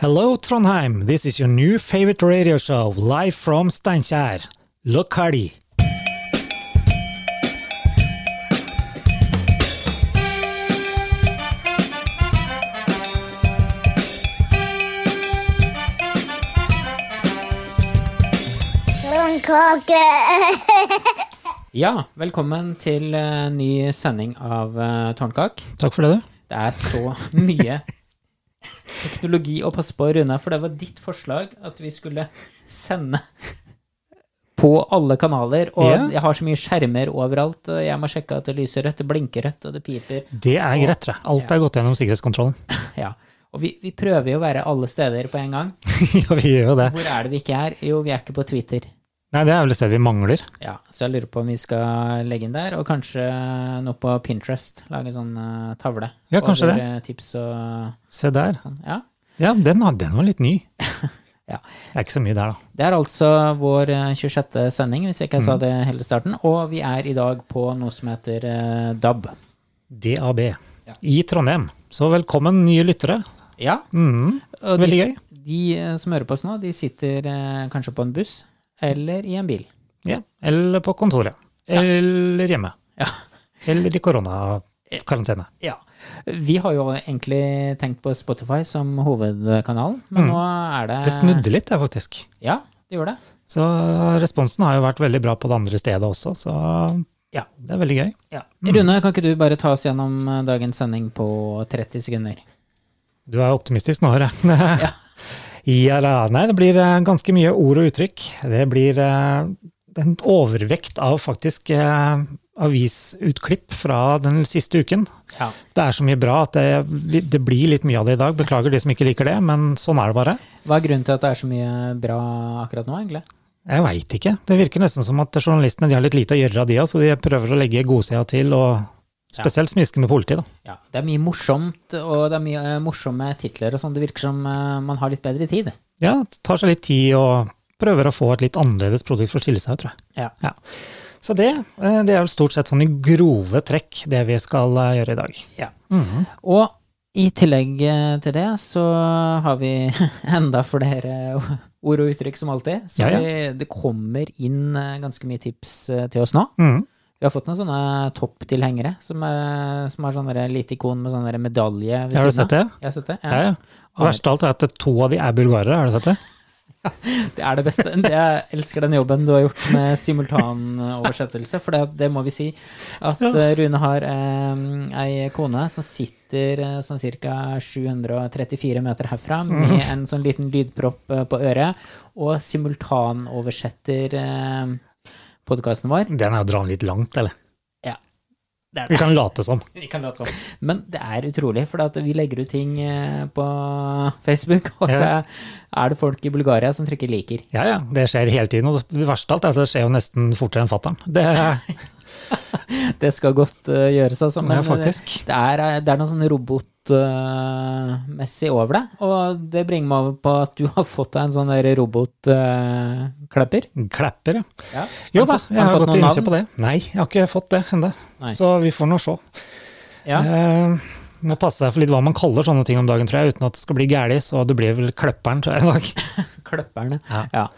Hello, Trondheim. This is your new favorite radio show, live from Steinkjer. Lokaldi. Blomkåke! Ja, velkommen til eh, ny sending av eh, Tårnkak. Takk for det, du. Det er så mye teknologi å passe på å runde av, for det var ditt forslag at vi skulle sende på alle kanaler. Og Ja. jeg har så mye skjermer overalt, og jeg må sjekke at det lyser rødt, det blinker rødt, og det piper. Det er greit, tror jeg. Alt er gått gjennom sikkerhetskontrollen. Ja. Og vi, vi prøver jo å være alle steder på en gang. ja, vi gjør jo det. Hvor er det vi ikke er? Jo, vi er ikke på Twitter. Nei, det er vel et sted vi mangler. Ja, Så jeg lurer på om vi skal legge inn der, og kanskje noe på Pinterest. Lage sånn eh, tavle Ja, kanskje over det. eh, tips og Se der. sånn. Ja. Ja, den, har- den var litt ny. Ja. Det er ikke så mye der, da. Det er altså vår eh, 26. sending, hvis jeg ikke Mm. sa det hele starten. Og vi er i dag på noe som heter eh, DAB. DAB. Ja. I Trondheim. Så velkommen, nye lyttere. Ja, Mm. og Veldig de, gøy. De eh, som hører på oss nå, de sitter eh, kanskje på en buss eller i en bil. Ja. Eller på kontoret. Eller hjemme. Ja. Eller i Eh. koronakarantene. Ja. Vi har jo egentlig tenkt på Spotify som hovedkanalen, men nå er det Mm. Det snudde litt, det, faktisk. Ja, det gjorde det. Så responsen har jo vært veldig bra på det andre stedet også, så Ja. det er veldig gøy. Ja. Mm. Rune, kan ikke du bare ta oss gjennom eh, dagens sending på 30 sekunder? Du er optimistisk nå, hører jeg. Ja da. Nei, det blir eh, ganske mye ord og uttrykk. Det blir eh, en overvekt av faktisk eh, avisutklipp fra den siste uken. Ja. Det er så mye bra at det, vi- det blir litt mye av det i dag. Beklager de som ikke liker det, men sånn er det bare. Hva er grunnen til at det er så mye bra akkurat nå, egentlig? Jeg veit ikke. Det virker nesten som at journalistene de har litt lite å gjøre av de òg, så de prøver å legge godsida til, og spesielt smiske med politiet, da. Ja, det er mye morsomt, og det er mye eh, morsomme titler og sånn. Det virker som eh, man har litt bedre tid. Ja, det tar seg litt tid og prøver å få et litt annerledes produkt for å skille seg ut, tror jeg. Ja. Ja. Så det, eh, det er jo stort sett sånn i grove trekk det vi skal eh, gjøre i dag. ja. Mhm. Og i tillegg eh, til det så har vi enda flere ord og uttrykk som alltid. Så Ja, ja. Vi, det kommer inn eh, ganske mye tips eh, til oss nå. Mhm. Vi har fått noen sånne topptilhengere som, eh, som har sånn der lite ikon med sånn der medalje ved Har du siden sett av. det? Jeg har sett det. Ja, ja. Og verst av alt er at to av de er bulgarere, har du sett det? Det er det beste. Jeg elsker den jobben du har gjort med simultanoversettelse, for det, det må vi si. At eh, Rune har eh, ei kone som sitter eh, sånn ca. 734 meter herfra Mm. med en sånn liten lydpropp eh, på øret, og simultanoversetter eh, podkasten vår. Den er å dra den litt langt, eller? Ja. Det er Vi kan late som. Vi kan late som. Men det er utrolig, for at vi legger ut ting eh, på Facebook, og så Ja. er det folk i Bulgaria som trykker 'liker'. Ja, ja, det skjer hele tiden, og det verste av alt er at det skjer jo nesten fortere enn fatteren. Det er Det skal godt eh, gjøres, altså. Men Ja, faktisk. det, er, eh, det er noe sånn robotmessig over det. Og det bringer meg over på at du har fått deg en sånn robotklapper. klepper, ja. ja. Jo Har da, du fått- jeg har har du fått gått til noen innkjøp på det. Nei, jeg har ikke fått det ennå, Nei. så vi får nå se. Ja. Eh, må passe seg for litt hva man kaller sånne ting om dagen, tror jeg, uten at det skal bli gæli, så det blir vel kløpperen, tror jeg, i dag. Kløpperne. Ja. Ja.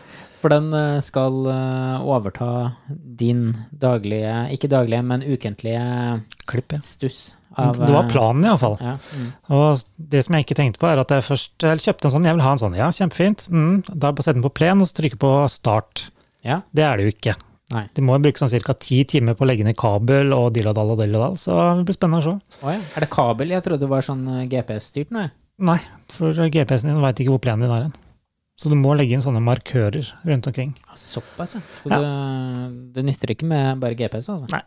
For den eh, skal eh, overta din daglige, ikke daglige, men ukentlige Klipp, ja. stuss av Det var eh, planen, iallfall. Ja. Mm. Og det som jeg ikke tenkte på, er at jeg først eh, kjøpte en sånn, jeg vil ha en sånn, ja, kjempefint. Mm, da bare sette den på plen, og så trykke på start. ja. Det er det jo ikke. Nei. Du må jo bruke sånn ca. ti timer på å legge ned kabel og dilladall og dilladall, så det blir spennende å se. Å ja. Er det kabel? Jeg trodde det var sånn eh, GPS-styrt nå, jeg. Nei, for GPS-en din veit ikke hvor plenen din er hen. Så du må legge inn sånne markører rundt omkring. Ja, Altså, Såpass, ja. Så Ja. det, det nytter ikke med bare GPS, altså.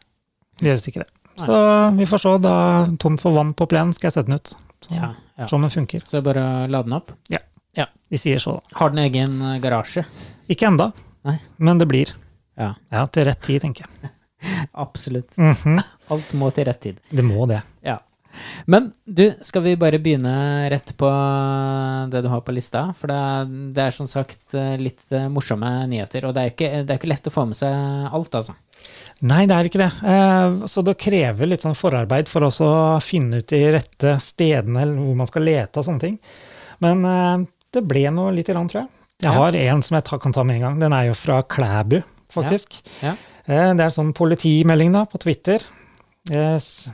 Det gjøres ikke det. Så vi får se, da tom for vann på plenen, skal jeg sette den ut. Så, Ja, ja. Se om den funker. Så bare å lade den opp. De sier så, da. Har den egen eh, garasje. Ikke enda, Nei. men det blir. Ja, Ja, til rett tid, tenker jeg. absolutt. Mhm, Alt må til rett tid. Det må det. Ja. Men du, skal vi bare begynne rett på eh, det du har på lista? For det er, det er som sagt eh, litt eh, morsomme nyheter, og det er jo ikke, det er ikke lett å få med seg alt, altså. Nei, det er ikke det. Eh, Så det krever litt sånn forarbeid for oss å finne ut de rette stedene eller hvor man skal lete og sånne ting. Men eh, det ble noe lite grann, tror jeg. Jeg har en som jeg ta, kan ta med en gang. Den er jo fra Klæbu, faktisk. Ja. Eh, Det er en sånn politimelding da, på Twitter. Eh, s-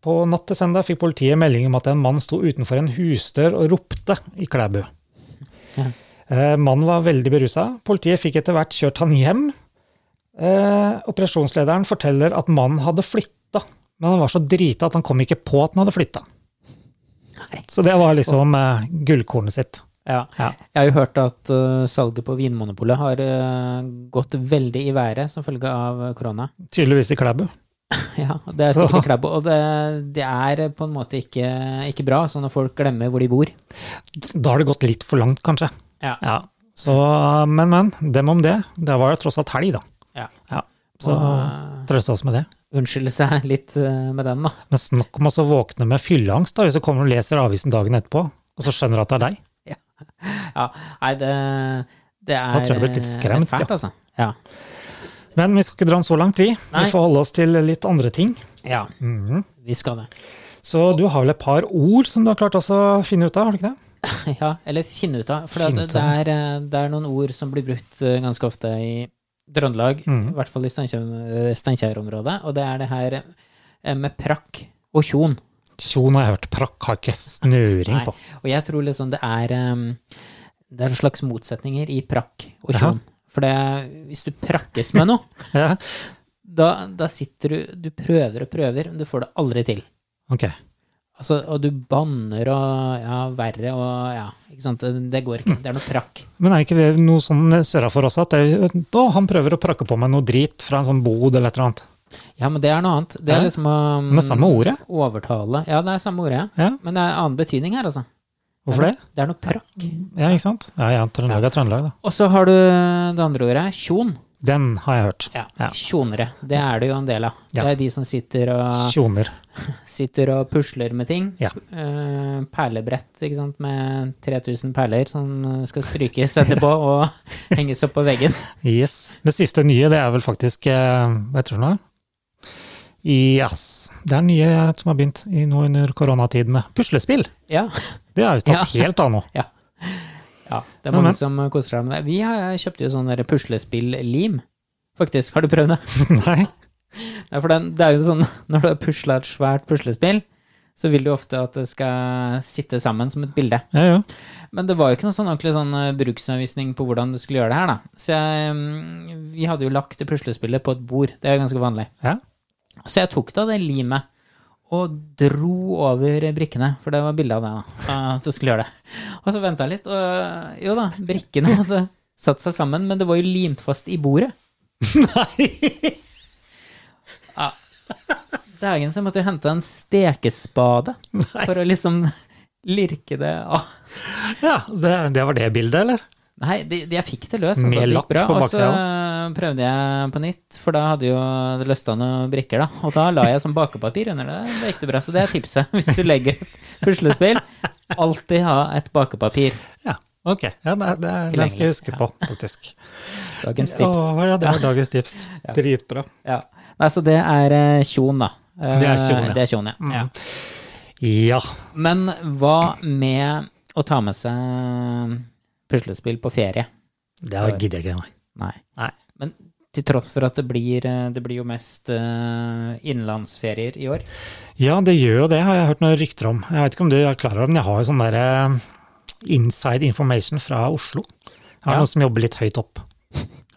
På natt til søndag fikk politiet melding om at en mann sto utenfor en husdør og ropte i Klæbu. Ja. Eh, Mannen var veldig berusa. Politiet fikk etter hvert kjørt han hjem. Eh, Operasjonslederen forteller at mannen hadde flytta, men han var så drita at han kom ikke på at han hadde flytta. Nei. Så det var liksom eh, gullkornet sitt. Ja. Ja. Jeg har jo hørt at eh, salget på Vinmonopolet har eh, gått veldig i været som følge av korona. Tydeligvis i Klæbu. Ja, og det er Så- sikkert klæbo. Og det, det er på en måte ikke, ikke bra, sånn at folk glemmer hvor de bor. Da har det gått litt for langt, kanskje. Ja. Ja, så, eh, men, men, dem om det. Det var jo tross alt helg, da. Ja. Ja, så Og, trøste oss med det. eh, unnskylde seg litt eh, med den, da. Men snakk om oss å våkne med fylleangst da, hvis du kommer og leser avisen dagen etterpå, og så skjønner du at det er deg. Ja, nei, det, det er Da tror jeg jeg ble litt skremt, det er fælt, altså. Ja. Men vi skal ikke dra den så langt, vi. Nei. Vi får holde oss til litt andre ting. ja, Mhm. vi skal det. Så du har vel et par ord som du har klart også å finne ut av, har du ikke det? Ja, eller finne ut av. For Finne det, ut det, er, eh, det er noen ord som blir brukt eh, ganske ofte i Trøndelag, Mhm. i hvert fall i Steinkjer- eh, Steinkjer-området, og det er det her eh, med prakk og tjon. Tjon har jeg hørt, prakk har ikke snøring Nei, på. Og jeg tror liksom det er um, Det er en slags motsetninger i prakk og Jaha. kjon. For det, hvis du prakkes med noe, Ja, da, da sitter du Du prøver og prøver, men du får det aldri til. ok. Altså, og du banner og ja, verre og ja, ikke sant. Det går ikke. Det er noe prakk. Men er ikke det noe sånn sørafor også, at det, da han prøver å prakke på meg noe drit fra en sånn bod eller et eller annet? Ja, men det er noe annet. Det Ja. er liksom å um, Men det er samme ordet. overtale. Ja, det er samme ordet, ja. Ja, Men det er annen betydning her, altså. hvorfor det? Det er noe prakk. Ja, ikke sant? Ja, ja, Trøndelag er Trøndelag, da. Og så har du det andre ordet, tjon. Den har jeg hørt. Ja, Ja. Tjonere. Det er det jo en del av. Ja. Det er de som sitter og Tjoner. sitter og pusler med ting. Ja. Eh, perlebrett ikke sant? med 3000 perler som skal strykes etterpå og henges opp på veggen. Yes. Det siste nye, det er vel faktisk eh, Hva heter det nå? Yes. Det er nye som har begynt i nå under koronatidene. Puslespill! Ja, Det er jo tatt helt av nå. ja det er Men, men. mange som koser seg med det. Vi har, kjøpte jo sånn der puslespill-lim, faktisk. Har du prøvd det? Nei. Nei, for den, det er jo sånn, Når du har pusla et svært puslespill, så vil du ofte at det skal sitte sammen som et bilde. Ja, ja. Men det var jo ikke noe sånn ordentlig sånn eh, bruksanvisning på hvordan du skulle gjøre det her, da. Så jeg, mm, vi hadde jo lagt det puslespillet på et bord, det er jo ganske vanlig. Ja. Så jeg tok da det limet og dro over brikkene, for det var bilde av det, da. eh, At du skulle gjøre det. Og så venta jeg litt, og jo da, brikkene hadde satt seg sammen, men det var jo limt fast i bordet. Nei! Ja. Dagen så måtte jeg hente en stekespade for å liksom lirke det av. Ja, det, det var det bildet, eller? Nei, de, de, jeg fikk det løs. Altså, Med det lakk gikk bra. på Og så eh, prøvde jeg på nytt, for da hadde jo det løsta noen brikker. da. Og da la jeg sånn bakepapir under det. Det gikk det bra. Så det er tipset hvis du legger et puslespill. Alltid ha et bakepapir. Ja, ok. Ja, det, det, den skal jeg huske på, faktisk. Dagens tips. Å, ja, det var dagens tips. Dritbra. Ja. Nei, så det er eh, tjon, da. Eh, Det er tjon, ja. Det er tjon, ja. ja. Mm. Ja. Men hva med å ta med seg puslespill på ferie? Det gidder jeg ikke, nei. Nei. Nei. Men til tross for at det blir, eh, det blir jo mest eh, innenlandsferier i år. Ja, det gjør jo det, har jeg hørt noen rykter om. Jeg vet ikke om du er klar over det, men jeg har jo sånn der eh, inside information fra Oslo. Jeg har Ja. noen som jobber litt høyt opp.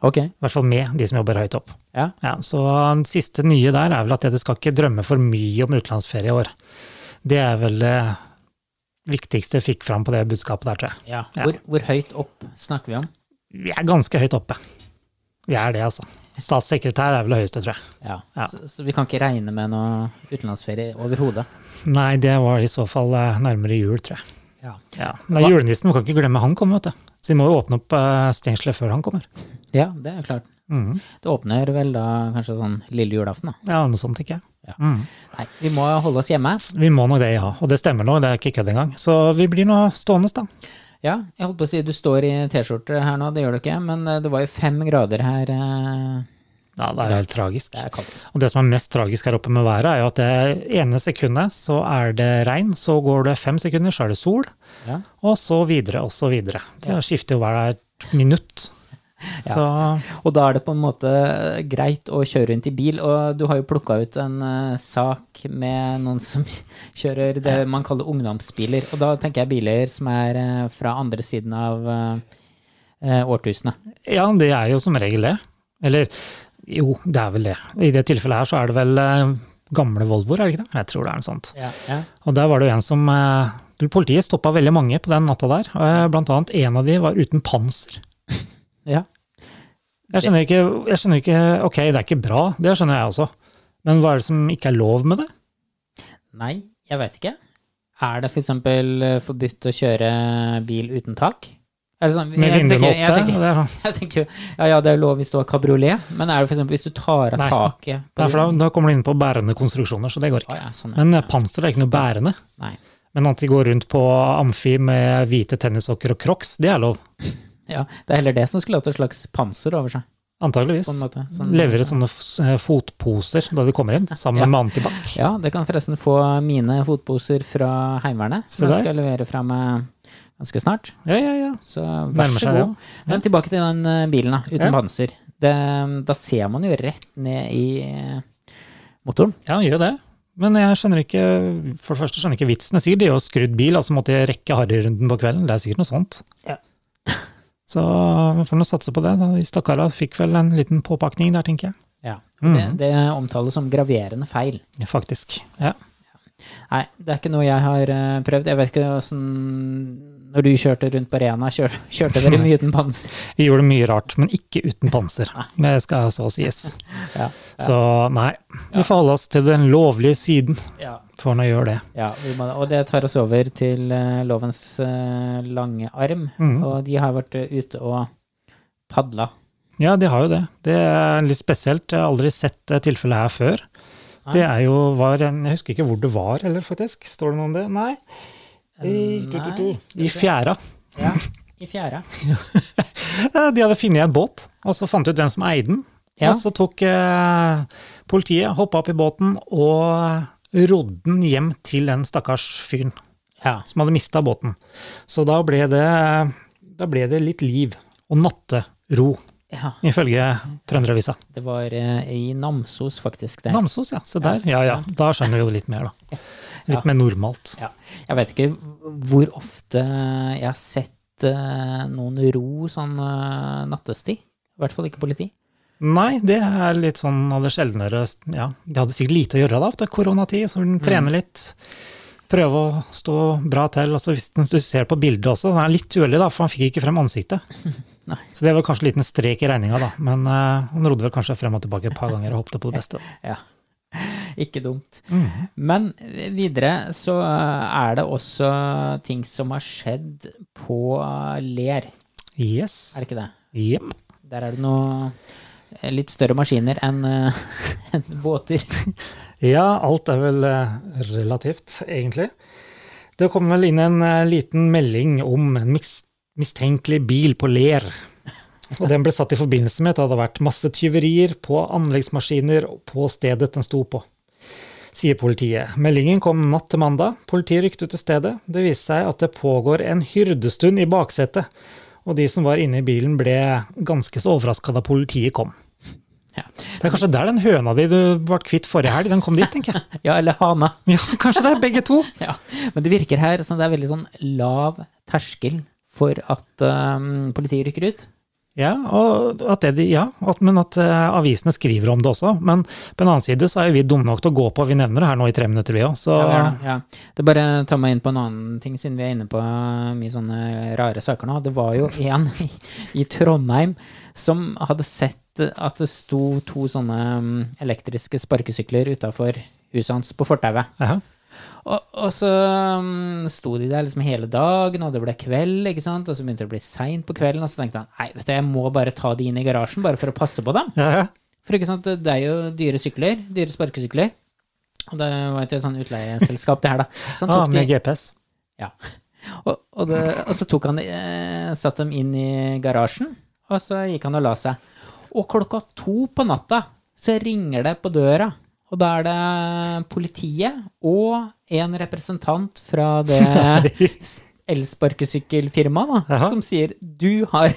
Ok. I hvert fall med de som jobber høyt opp. Ja. Ja, så den siste nye der er vel at dere skal ikke drømme for mye om utenlandsferie i år. Det er vel det viktigste jeg fikk fram på det budskapet der, tror jeg. Ja. Ja. Hvor, hvor høyt opp snakker vi om? Vi er ganske høyt oppe. Vi er det, altså. Statssekretær er vel det høyeste, tror jeg. Ja. Ja. Så, så vi kan ikke regne med noe utenlandsferie overhodet. Nei, det var i så fall eh, nærmere jul, tror jeg. Ja. Ja. Nei, Hva- julenissen, vi kan ikke glemme han kommer, vet du. Så vi må jo åpne opp eh, stengselet før han kommer. det er klart. Mhm. Det åpner vel da kanskje sånn lille julaften, da. Ja, noe sånt, tenker jeg. Ja. Mm. Nei, vi må holde oss hjemme. Vi må nok det, ja. Og det stemmer nå, det er ikke kødd engang. Så vi blir nå stående, da. Ja, jeg holdt på å si du står i T-skjorte her nå, det gjør du ikke, men eh, det var jo fem grader her eh, Ja, det er helt tragisk. Det er kaldt. Og det som er mest tragisk her oppe med været, er jo at det ene sekundet så er det regn, så går det fem sekunder, så er det sol, Ja. og så videre og så videre. Det skifter jo hvert minutt. Ja. Så Og da er det på en måte greit å kjøre rundt i bil, og du har jo plukka ut en eh, sak med noen som kjører det man kaller ungdomsbiler, og da tenker jeg biler som er eh, fra andre siden av eh, eh, årtusenet. ja, det er jo som regel det. Eller jo, det er vel det. I det tilfellet her så er det vel eh, gamle Volvoer, er det ikke det? Jeg tror det er noe sånt. Ja. Ja. Og der var det jo en som eh, Politiet stoppa veldig mange på den natta der. eh, Blant annet en av de var uten panser. ja. Jeg skjønner ikke, jeg skjønner ikke Ok, det er ikke bra, det skjønner jeg også. Men hva er det som ikke er lov med det? Nei, jeg vet ikke. Er det f.eks. For eh, forbudt å kjøre bil uten tak? Eller sånn, Med jeg vinduene tenker- jeg oppe? tenker- Det er sånn- Jeg tenker jo, ja, ja, det er lov hvis du har kabriolet, men er det for eksempel hvis du tar av Nei. taket på Nei, for da, bilen? da kommer du inn på bærende konstruksjoner, så det går Å ikke. ja, sånn, ja. Men eh, panser er ikke noe bærende. Nei. Men at de går rundt på amfi med hvite tennissokker og crocs, det er lov. Ja, det er heller det som skulle hatt et slags panser over seg, Antageligvis. på en måte. Sånn- Levere sånne f- eh, fotposer da de kommer inn, sammen Ja. med antibac. Ja, det kan forresten få mine fotposer fra Heimevernet, Se som jeg der. skal levere fra meg ganske snart. Ja, ja, ja. Så vær Nærmer så seg det god. Men tilbake til den eh, bilen, da, uten Ja. panser. Det, da ser man jo rett ned i eh, motoren. Ja, han gjør jo det. Men jeg skjønner ikke for det første skjønner jeg ikke vitsen. Jeg sier de har skrudd bil, altså måtte jeg rekke harryrunden på kvelden. Det er sikkert noe sånt. Ja. Så vi får nå satse på det. De stakkara fikk vel en liten påpakning der, tenker jeg. Ja. Det, Mhm. det omtales som graverende feil. Ja, Faktisk. Ja. Nei, det er ikke noe jeg har eh, prøvd. Jeg vet ikke åssen Når du kjørte rundt på Rena, kjør, kjørte dere mye uten panser? Vi gjorde mye rart, men ikke uten panser. Det skal så sies. Ja. Så nei, vi får holde oss til den lovlige siden ja. for å gjøre det. Ja, vi må, og det tar oss over til eh, lovens eh, lange arm. Mhm. Og de har vært eh, ute og padla. Ja, de har jo det. Det er litt spesielt. Jeg har aldri sett det tilfellet her før. Nei. Det er jo var, Jeg husker ikke hvor det var heller, faktisk. Står det noe om det? Nei. I, Eh, Nei, tu, tu, tu. skal vi I se. fjæra. Ja, I fjæra. Eh, De hadde funnet en båt, og så fant ut hvem som eide den. Ja. Og så tok eh, politiet, hoppa opp i båten og rodde den hjem til den stakkars fyren Ja. som hadde mista båten. Så da ble, det, da ble det litt liv og nattero, ja. ifølge Trønderavisa. Det var eh, i Namsos, faktisk. Det. Namsos, ja. Se der. Ja ja, da skjønner vi jo litt mer, da. Litt mer normalt. Ja. Jeg vet ikke hvor ofte jeg har sett eh, noen ro sånn eh, nattestid. I hvert fall ikke politi. Nei, det er litt sånn av det sjeldnere Ja, de hadde sikkert lite å gjøre da, det er koronatid, så den Mm. trener litt. Prøve å stå bra til. Altså, hvis den- du ser på bildet også, den er litt uheldig, da, for han fikk ikke frem ansiktet. Nei. Så det var kanskje en liten strek i regninga, da. Men eh, han rodde vel kanskje frem og tilbake et par ganger og håpte på det beste. Ja. Ikke dumt. Mhm. Men videre så eh, er det også ting som har skjedd på eh, Ler, Yes. er det ikke det? Jepp. Der er det noe eh, litt større maskiner enn eh, enn båter. Ja, alt er vel eh, relativt, egentlig. Det kom vel inn en eh, liten melding om en mis mistenkelig bil på Ler. Og den ble satt i forbindelse med at det hadde vært masse tyverier på anleggsmaskiner på stedet den sto på, sier politiet. Meldingen kom natt til mandag. Politiet rykte ut til stedet. Det viste seg at det pågår en hyrdestund i baksetet, og de som var inne i bilen ble ganske så overraska da politiet kom. Ja. Det er kanskje der den høna di du ble kvitt forrige helg, den kom dit, tenker jeg. ja, eller hana. Ja, kanskje det er begge to. Ja. Men det virker her som det er veldig sånn lav terskel for at eh, politiet rykker ut. Ja, og at det, de- ja at, men at eh, avisene skriver om det også. Men på en annen side så er jo vi dumme nok til å gå på, vi nevner det her nå i tre minutter, vi òg. Så Ja, det, er det. ja. det bare tar meg inn på en annen ting, siden vi er inne på eh, mye sånne rare saker nå. Det var jo en i, i Trondheim som hadde sett at det sto to sånne mm, elektriske sparkesykler utafor huset hans på fortauet. Jaha. Og, og så mm, sto de der liksom hele dagen, og det ble kveld, ikke sant? og så begynte det å bli seint på kvelden, og så tenkte han nei, vet du, jeg må bare ta de inn i garasjen bare for å passe på dem. Ja, ja. For ikke sant, det er jo dyre sykler, dyre sparkesykler. Og det var et sånn utleieselskap, det her, da. Så han Ah, tok med de, GPS. ja. og, og, det, og så tok han, eh, satt dem inn i garasjen, og så gikk han og la seg. Og klokka to på natta så ringer det på døra. Og da er det politiet og en representant fra det elsparkesykkelfirmaet da, Jaha. som sier du har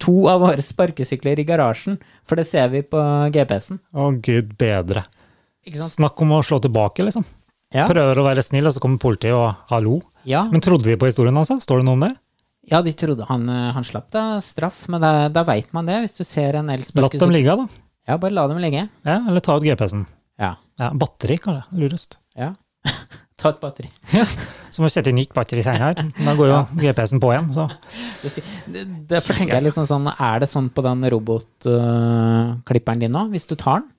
to av våre sparkesykler i garasjen, for det ser vi på GPS-en. Å, gud bedre. Ikke sant? Snakk om å slå tilbake, liksom. Ja. Prøver å være snill, og så kommer politiet og 'hallo'. Ja. Men trodde de på historien hans? da? Står det noe om det? Ja, de trodde han, eh, han slapp da straff, men da, da veit man det. Hvis du ser en Latt dem elsparkesykkel ligge, da. Ja, bare la dem ligge. Ja, eller ta ut GPS-en. Ja. Ja, batteri, kanskje. Lurest. ja. Ta et batteri. Så må vi sette nytt batteri senere her. Da går jo GPS-en på igjen, så. Det si- det- Derfor tenker jeg liksom sånn Er det sånn på den robotklipperen din nå, hvis du tar den?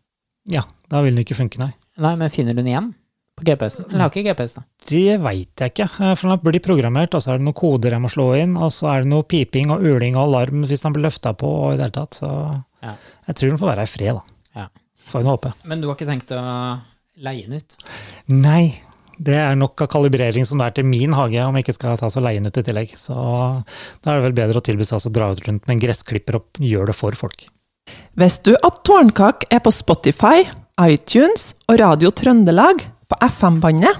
Ja, da vil den ikke funke, nei. Nei, men finner du den igjen på GPS-en? Eller har ikke GPS, da? Det veit jeg ikke. eh, For den blir programmert, og så er det noen koder jeg må slå inn, og så er det noe piping og uling og alarm hvis den blir løfta på og i det hele tatt. Så Ja. jeg tror den får være i fred, da. Ja. Får vi nå håpe. Men du har ikke tenkt å leie den ut? Nei. Det er nok av kalibrering som det er til min hage, om jeg ikke skal ta så leien ut i tillegg. Så da er det vel bedre å tilby seg altså å dra ut rundt med en gressklipper og gjøre det for folk. Visste du at Tårnkak er på Spotify, iTunes og Radio Trøndelag på FM-bandet?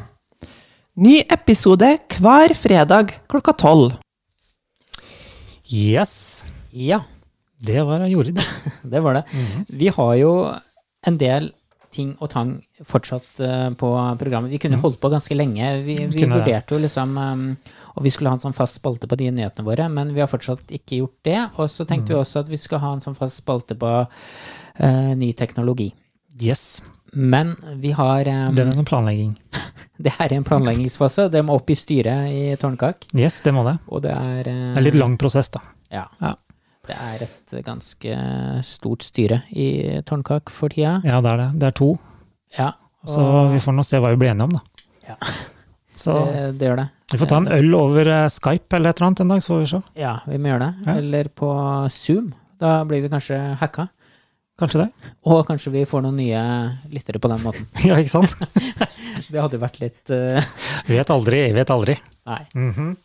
Ny episode hver fredag klokka tolv. Yes, Ja, det var Jorid. det var det. Mhm. Vi har jo en del ting og tang fortsatt eh, på programmet. Vi kunne holdt på ganske lenge. Vi, vi Mhm. Kunne det. vurderte jo liksom um, Og vi skulle ha en sånn fast spalte på de nyhetene våre, men vi har fortsatt ikke gjort det. Og så tenkte Mhm. vi også at vi skal ha en sånn fast spalte på eh, ny teknologi. Yes, Men vi har eh, det er noen planlegging. Det her er en planleggingsfase. Det må opp i styret i Tårnkak. Yes, det må det. Og det er eh, Det er litt lang prosess, da. Ja. Ja. Det er et ganske stort styre i Tårnkak for tida. Ja, det er det. Det er to, Ja. Og så vi får nå se hva vi blir enige om, da. Ja. Så Ah. det, det gjør det. vi får ta en øl over eh, Skype eller et eller annet en dag, så får vi se. Ja, vi må gjøre det. Ja. Eller på Zoom. Da blir vi kanskje hacka. Kanskje det? Og kanskje vi får noen nye lyttere på den måten. Ja, ikke sant? Det hadde vært litt eh, Vet aldri, vet aldri. Nei. Mhm.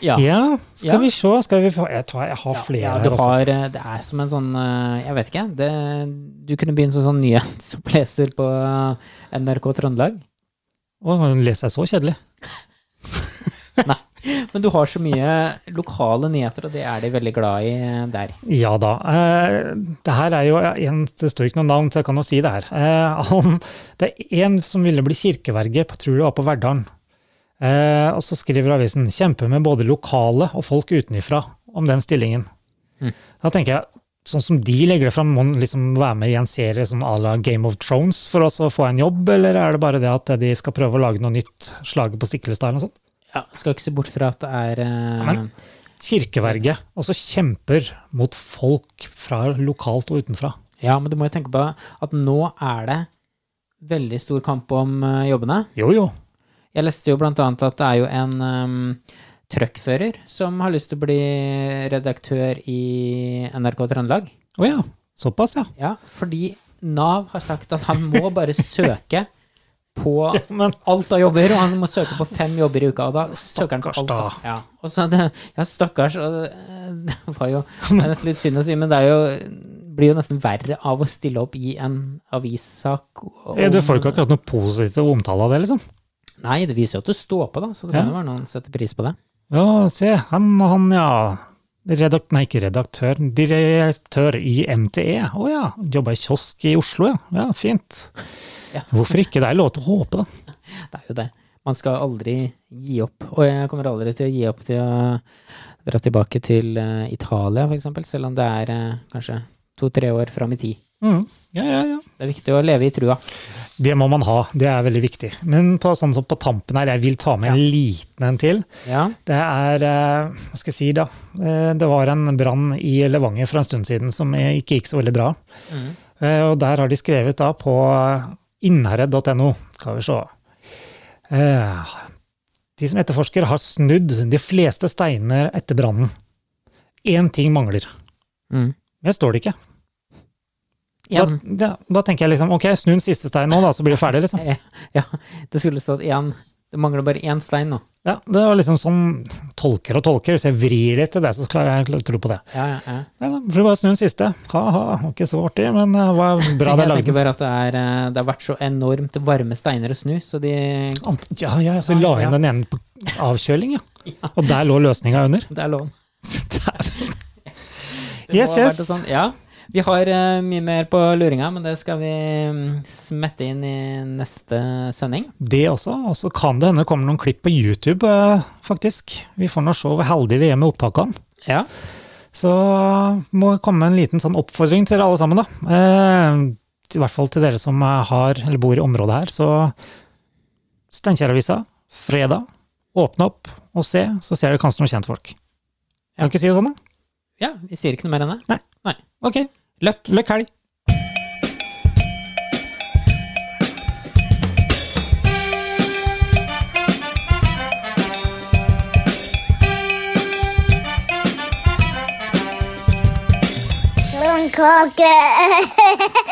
Ja. Ja, skal Ja. vi se. Skal vi få Jeg, tror jeg har Ja, flere ja, her altså. du også. har, eh, det er som en sånn eh, Jeg vet ikke. Det, du kunne begynt som sånn nyhetsoppleser på eh, NRK Trøndelag. Å, den leser jeg så kjedelig. Men du har så mye lokale nyheter, og det er de veldig glad i der. Ja da. Eh, det her er jo en, Det står ikke noe navn, så jeg kan jo si det her. Eh, han, det er en som ville bli kirkeverge, på- tror jeg det var på Verdalen. Eh, og så skriver avisen 'Kjempe med både lokale og folk utenifra om den stillingen'. Mm. Da tenker jeg, sånn som de legger det fram, må han liksom være med i en serie sånn à la Game of Thrones for oss å få en jobb, eller er det bare det at de skal prøve å lage noe nytt, slaget på Stiklestad eller noe sånt? Ja, skal ikke se bort fra at det er eh, men- kirkeverge, og så kjemper mot folk fra lokalt og utenfra. Ja, men du må jo tenke på at nå er det veldig stor kamp om eh, jobbene. Jo, jo. Jeg leste jo blant annet at det er jo en em, truckfører som har lyst til å bli redaktør i NRK Trøndelag. Å ja. Såpass, ja. Ja, fordi Nav har sagt at han må bare søke på Men alt av jobber, og han må søke på fem jobber i uka. Og da søker han på Stakkars alt, da. da. Ja, og så det, ja stakkars. Og det, det var jo det er nesten litt synd å si, men det er jo, blir jo nesten verre av å stille opp i en avissak. om- du får jo ikke akkurat noe positivt omtale av det, liksom. Nei, det viser jo at du står på, da, så det Ja. kan jo være noen setter pris på det. Ja, se, han og han, ja. Redakt, nei, ikke redaktør, direktør i NTE. Å ja, jobba i kiosk i Oslo, ja. Ja, Fint. Ja. Hvorfor ikke? Det er lov til å håpe, da. Det er jo det. Man skal aldri gi opp. Og jeg kommer aldri til å gi opp til å dra tilbake til eh, Italia, for eksempel, selv om det er eh, kanskje to-tre år fram i tid. Mm. Ja, ja, ja. Det er viktig å leve i trua. Det må man ha, det er veldig viktig. Men på, sånn som på tampen her, jeg vil ta med en liten en til. Ja. Det er eh, Hva skal jeg si, da? Eh, Det var en brann i Levanger for en stund siden som ikke gikk så veldig bra. Mhm. Eh, Og der har de skrevet da på innherred.no, skal vi se Eh, De som etterforsker, har snudd de fleste steiner etter brannen. Én ting mangler. Mm. Men det står det ikke. Da, En. da, da tenker jeg liksom ok, snu den siste steinen nå, da, så blir vi ferdig, liksom. Ja, det skulle stått én Det mangler bare én stein nå. Ja, det var liksom sånn tolker og tolker, så jeg vrir litt til det, så klarer jeg å tro på det. Ja, ja, ja. Nei da, får du bare snu den siste. Ha-ha, var ikke så artig, men det var bra det jeg lagde tenker den. bare at det, er, eh, det har vært så enormt varme steiner å snu, så de Ant- Ja, ja, ja, så la jeg Ja, inn ja. den ene på avkjøling, ja. Og der lå løsninga under. Det er lov. Så der- Det må Yes, ha vært yes. det Sånn. Ja. Vi har eh, mye mer på luringa, men det skal vi mm, smette inn i neste sending. Det også. Og så kan det hende det kommer noen klipp på YouTube, eh, faktisk. Vi får nå se hvor heldige vi er med opptakene. Ja. Så må jeg komme med en liten sånn oppfordring til dere alle sammen, da. Eh, I hvert fall til dere som eh, har, eller bor i området her. Så Steinkjer-avisa, fredag. Åpne opp og se, så ser dere kanskje noen kjentfolk. Jeg kan ikke si det sånn, da? ja. Vi sier ikke noe mer enn det. Ok, Løkk! løkk helg! Loon Cocker.